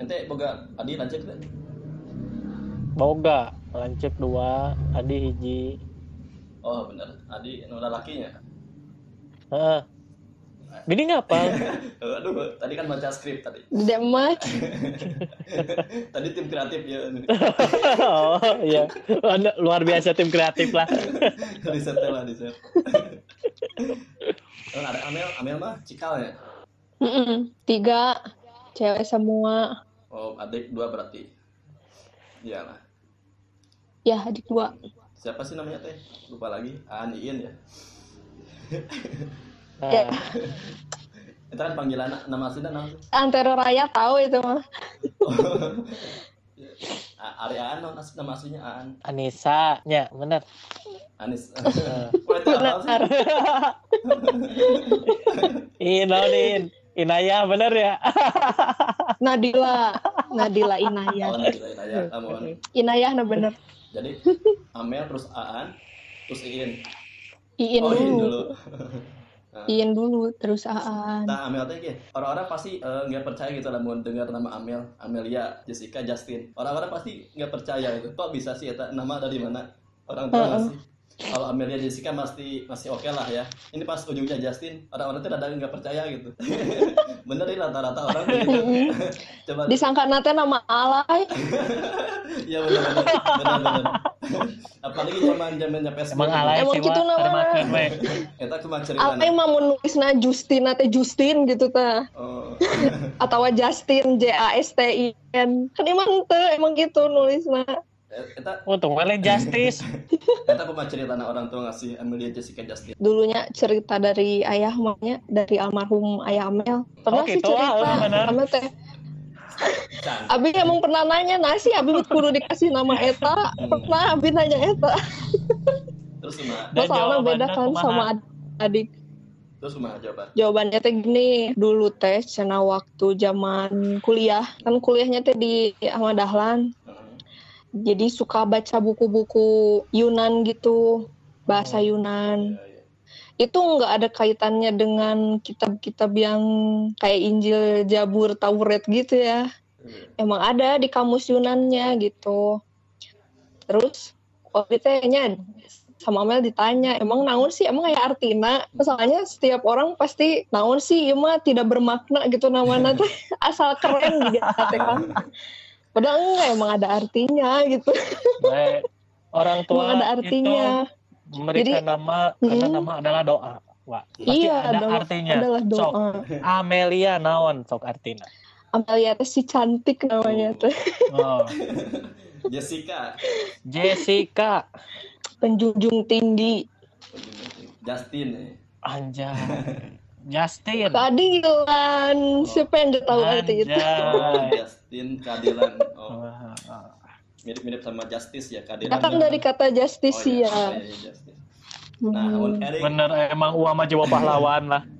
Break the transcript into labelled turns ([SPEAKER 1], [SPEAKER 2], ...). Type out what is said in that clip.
[SPEAKER 1] Ente boga adi lancip teh.
[SPEAKER 2] boga lancip dua adi hiji
[SPEAKER 1] Oh bener, adi nu lalakinya.
[SPEAKER 2] Heeh. bini ngapal
[SPEAKER 1] Aduh, tadi kan baca skrip tadi.
[SPEAKER 3] Tidak much.
[SPEAKER 1] Tadi tim kreatif ya.
[SPEAKER 2] oh iya Lu- luar biasa tim kreatif lah
[SPEAKER 1] riset teh lah riset. Oh, ada Amel, Amel mah cikal ya.
[SPEAKER 3] Mm-mm. Tiga cewek semua.
[SPEAKER 1] Oh, adik dua berarti. Iyalah.
[SPEAKER 3] Ya adik dua.
[SPEAKER 1] Siapa sih namanya teh? Lupa lagi. Aan Iin ya.
[SPEAKER 3] Ya.
[SPEAKER 2] nah,
[SPEAKER 1] Itu kan panggilan nama aslinya nama sih.
[SPEAKER 3] Antero Raya tahu itu mah.
[SPEAKER 1] A- Ari Aan nama asli- nama aslinya Aan.
[SPEAKER 2] Anissa nya bener Eh,
[SPEAKER 1] Anis. Wah, itu apa sih?
[SPEAKER 2] Inolin Inaya bener ya
[SPEAKER 3] Nadila. Nadila Inayah.
[SPEAKER 1] Oh, nanti lain aja. Ah, mohon.
[SPEAKER 3] Inayah nah bener.
[SPEAKER 1] Jadi Amel terus Aan terus Iin.
[SPEAKER 3] Iin
[SPEAKER 1] Oh, Iin
[SPEAKER 3] dulu.
[SPEAKER 1] dulu.
[SPEAKER 3] Iin dulu terus Aan.
[SPEAKER 2] Kan.
[SPEAKER 1] Nah, Amel teh gitu. Orang-orang pasti eh, nggak percaya gitu lah mau dengar nama Amel, Amelia, Jessica, Justin. Orang-orang pasti nggak percaya gitu. Kok bisa sih eta nama dari mana? Orang tua
[SPEAKER 3] Heeh.
[SPEAKER 1] masih kalau Amelia Jessica pasti masih oke lah ya. Ini pas ujungnya Justin, orang-orang tuh ada nggak percaya gitu. Bener nih rata-rata orang tuh gitu. Coba
[SPEAKER 3] Disangka nate nama alay.
[SPEAKER 1] Iya benar benar. benar benar. Apalagi zaman zamannya Facebook.
[SPEAKER 2] emang alay
[SPEAKER 3] Emang
[SPEAKER 2] sih
[SPEAKER 3] gitu
[SPEAKER 2] Wak.
[SPEAKER 3] namanya.
[SPEAKER 2] Termakan, we.
[SPEAKER 1] Kita cuma cerita.
[SPEAKER 3] Alay mah mau nulisna Justin nate Justin gitu ta.
[SPEAKER 1] Oh.
[SPEAKER 3] Atau Justin J A S T I N. Kan emang teu emang gitu nulisna.
[SPEAKER 1] Kita
[SPEAKER 2] untung paling justice
[SPEAKER 1] kita cuma cerita anak orang tua ngasih Amelia Jessica Justin.
[SPEAKER 3] dulunya cerita dari ayah mamanya dari almarhum ayah Amel
[SPEAKER 2] Oh,
[SPEAKER 3] pernah sih
[SPEAKER 2] gitu,
[SPEAKER 3] cerita
[SPEAKER 2] ah, benar.
[SPEAKER 3] Amel teh
[SPEAKER 1] Can.
[SPEAKER 3] Abi emang pernah nanya nasi Abi kudu dikasih nama Eta
[SPEAKER 2] Hmm.
[SPEAKER 3] pernah Abi nanya Eta
[SPEAKER 1] Terus cuma
[SPEAKER 2] Dan
[SPEAKER 3] soalnya beda
[SPEAKER 2] jawabannya
[SPEAKER 3] kan
[SPEAKER 2] kumaha?
[SPEAKER 3] sama ad- adik
[SPEAKER 1] terus cuma jawaban.
[SPEAKER 3] jawabannya teh gini dulu teh cina waktu zaman kuliah kan kuliahnya teh di Ahmad Dahlan
[SPEAKER 1] Heeh.
[SPEAKER 3] jadi suka baca buku-buku Yunan gitu bahasa
[SPEAKER 2] Oh,
[SPEAKER 3] Yunan
[SPEAKER 1] Iya iya.
[SPEAKER 3] itu nggak ada kaitannya dengan kitab-kitab yang kayak Injil, Jabur, Taurat gitu ya.
[SPEAKER 1] Iya.
[SPEAKER 3] Emang ada di kamus Yunannya gitu. Terus waktu itu kayaknya sama Amel ditanya, emang naon sih, emang kayak artina? Soalnya setiap orang pasti naon sih, ya mah tidak bermakna gitu namanya teh asal keren gitu teh kan. Padahal enggak, emang ada artinya gitu.
[SPEAKER 2] We, orang tua
[SPEAKER 3] emang ada artinya.
[SPEAKER 2] itu memberikan
[SPEAKER 3] Jadi-
[SPEAKER 2] nama karena
[SPEAKER 3] Mm.
[SPEAKER 2] nama adalah doa Wak. Pasti
[SPEAKER 3] Iya,
[SPEAKER 2] ada
[SPEAKER 3] doa-
[SPEAKER 2] artinya
[SPEAKER 3] Adalah doa.
[SPEAKER 2] Sok. Amelia naon sok artinya
[SPEAKER 3] Amelia teh si cantik namanya teh.
[SPEAKER 2] oh.
[SPEAKER 1] Jessica.
[SPEAKER 2] Jessica
[SPEAKER 3] Penjunjung tinggi.
[SPEAKER 1] Justin. eh.
[SPEAKER 2] Anja Justin
[SPEAKER 3] keadilan siapa yang udah tahu arti itu
[SPEAKER 2] Anjay.
[SPEAKER 1] Justin keadilan. Oh,
[SPEAKER 2] Wah, ah.
[SPEAKER 1] mirip-mirip sama justice ya keadilan.
[SPEAKER 3] datang dari
[SPEAKER 1] Oh,
[SPEAKER 3] kata
[SPEAKER 1] iya.
[SPEAKER 3] justisia
[SPEAKER 1] Iya, iya, justice. Nah, on
[SPEAKER 3] Hmm.
[SPEAKER 1] Eric.
[SPEAKER 2] bener emang uang mah jiwa pahlawan lah